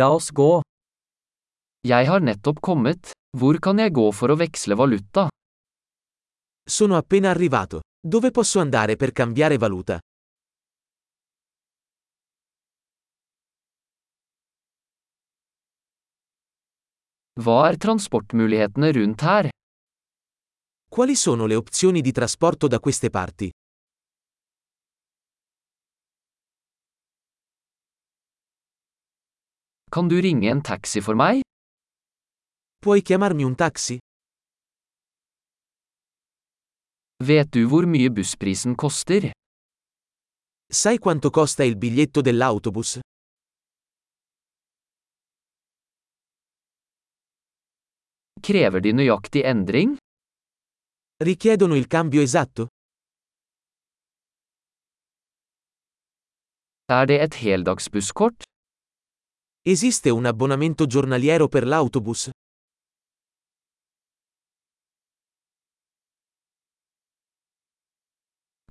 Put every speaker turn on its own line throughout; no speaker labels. La oss gå. Jeg har nettopp kommet. Hvor kan jeg gå for å veksle valuta?
Sono appena arrivato. Dove posso andare per cambiare valuta?
Hva er transportmulighetene rundt her?
Quali sono le opzioni di trasporto da queste parti?
Kan du ringe en taxi for meg?
Puoi chiamarmi un taxi?
Vet du hvor mye bussprisen koster?
Sai quanto costa il biglietto dell'autobus?
Krever de nøyaktig endring?
Richiedono il cambio esatto?
Er det et heldagsbusskort?
Esiste un abbonamento giornaliero per l'autobus?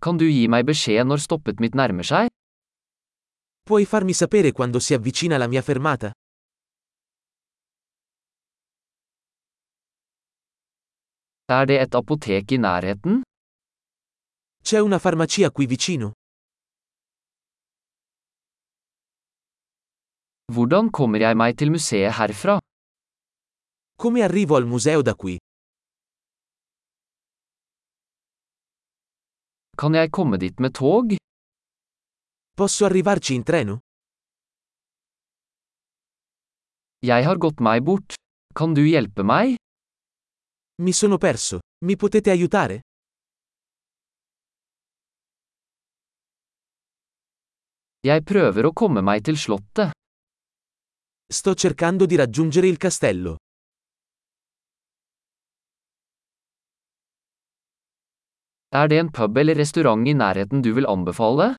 Kan du gi meg beskjed når stoppet mitt nærmer seg?
Puoi farmi sapere quando si avvicina la mia fermata?
Er det et apotek i nærheten?
C'è una farmacia qui vicino?
Hvordan kommer jeg meg til museet herfra?
Come arrivo al museo da qui?
Kan jeg komme dit med tog?
Posso arrivarci in treno?
Jeg har gått meg bort. Kan du hjelpe meg?
Mi sono perso. Mi potete aiutare?
Jeg prøver å komme meg til slottet.
Sto cercando di raggiungere il castello.
Er det en pub eller restaurant i nærheten du vil anbefale?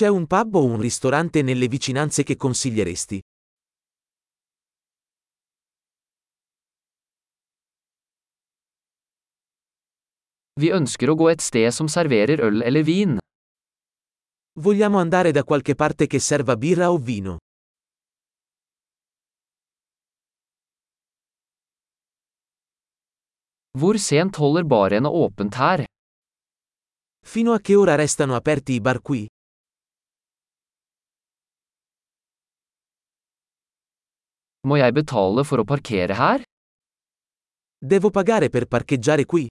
C'è un pub o un ristorante nelle vicinanze che consiglieresti?
Vi ønsker å gå et sted som serverer øl eller vin.
Vogliamo andare da qualche parte che serva birra o vino?
Hvor sent holder barene åpent her?
Fino a che ora restano aperti i bar qui?
Må jeg betale for å parkere her?
Devo pagare per parcheggiare qui?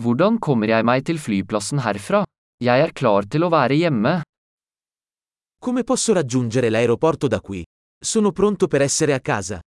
Hvordan kommer jeg meg til flyplassen herfra? Jeg er klar til å være hjemme.
Come posso raggiungere l'aeroporto da qui? Sono pronto per essere a casa.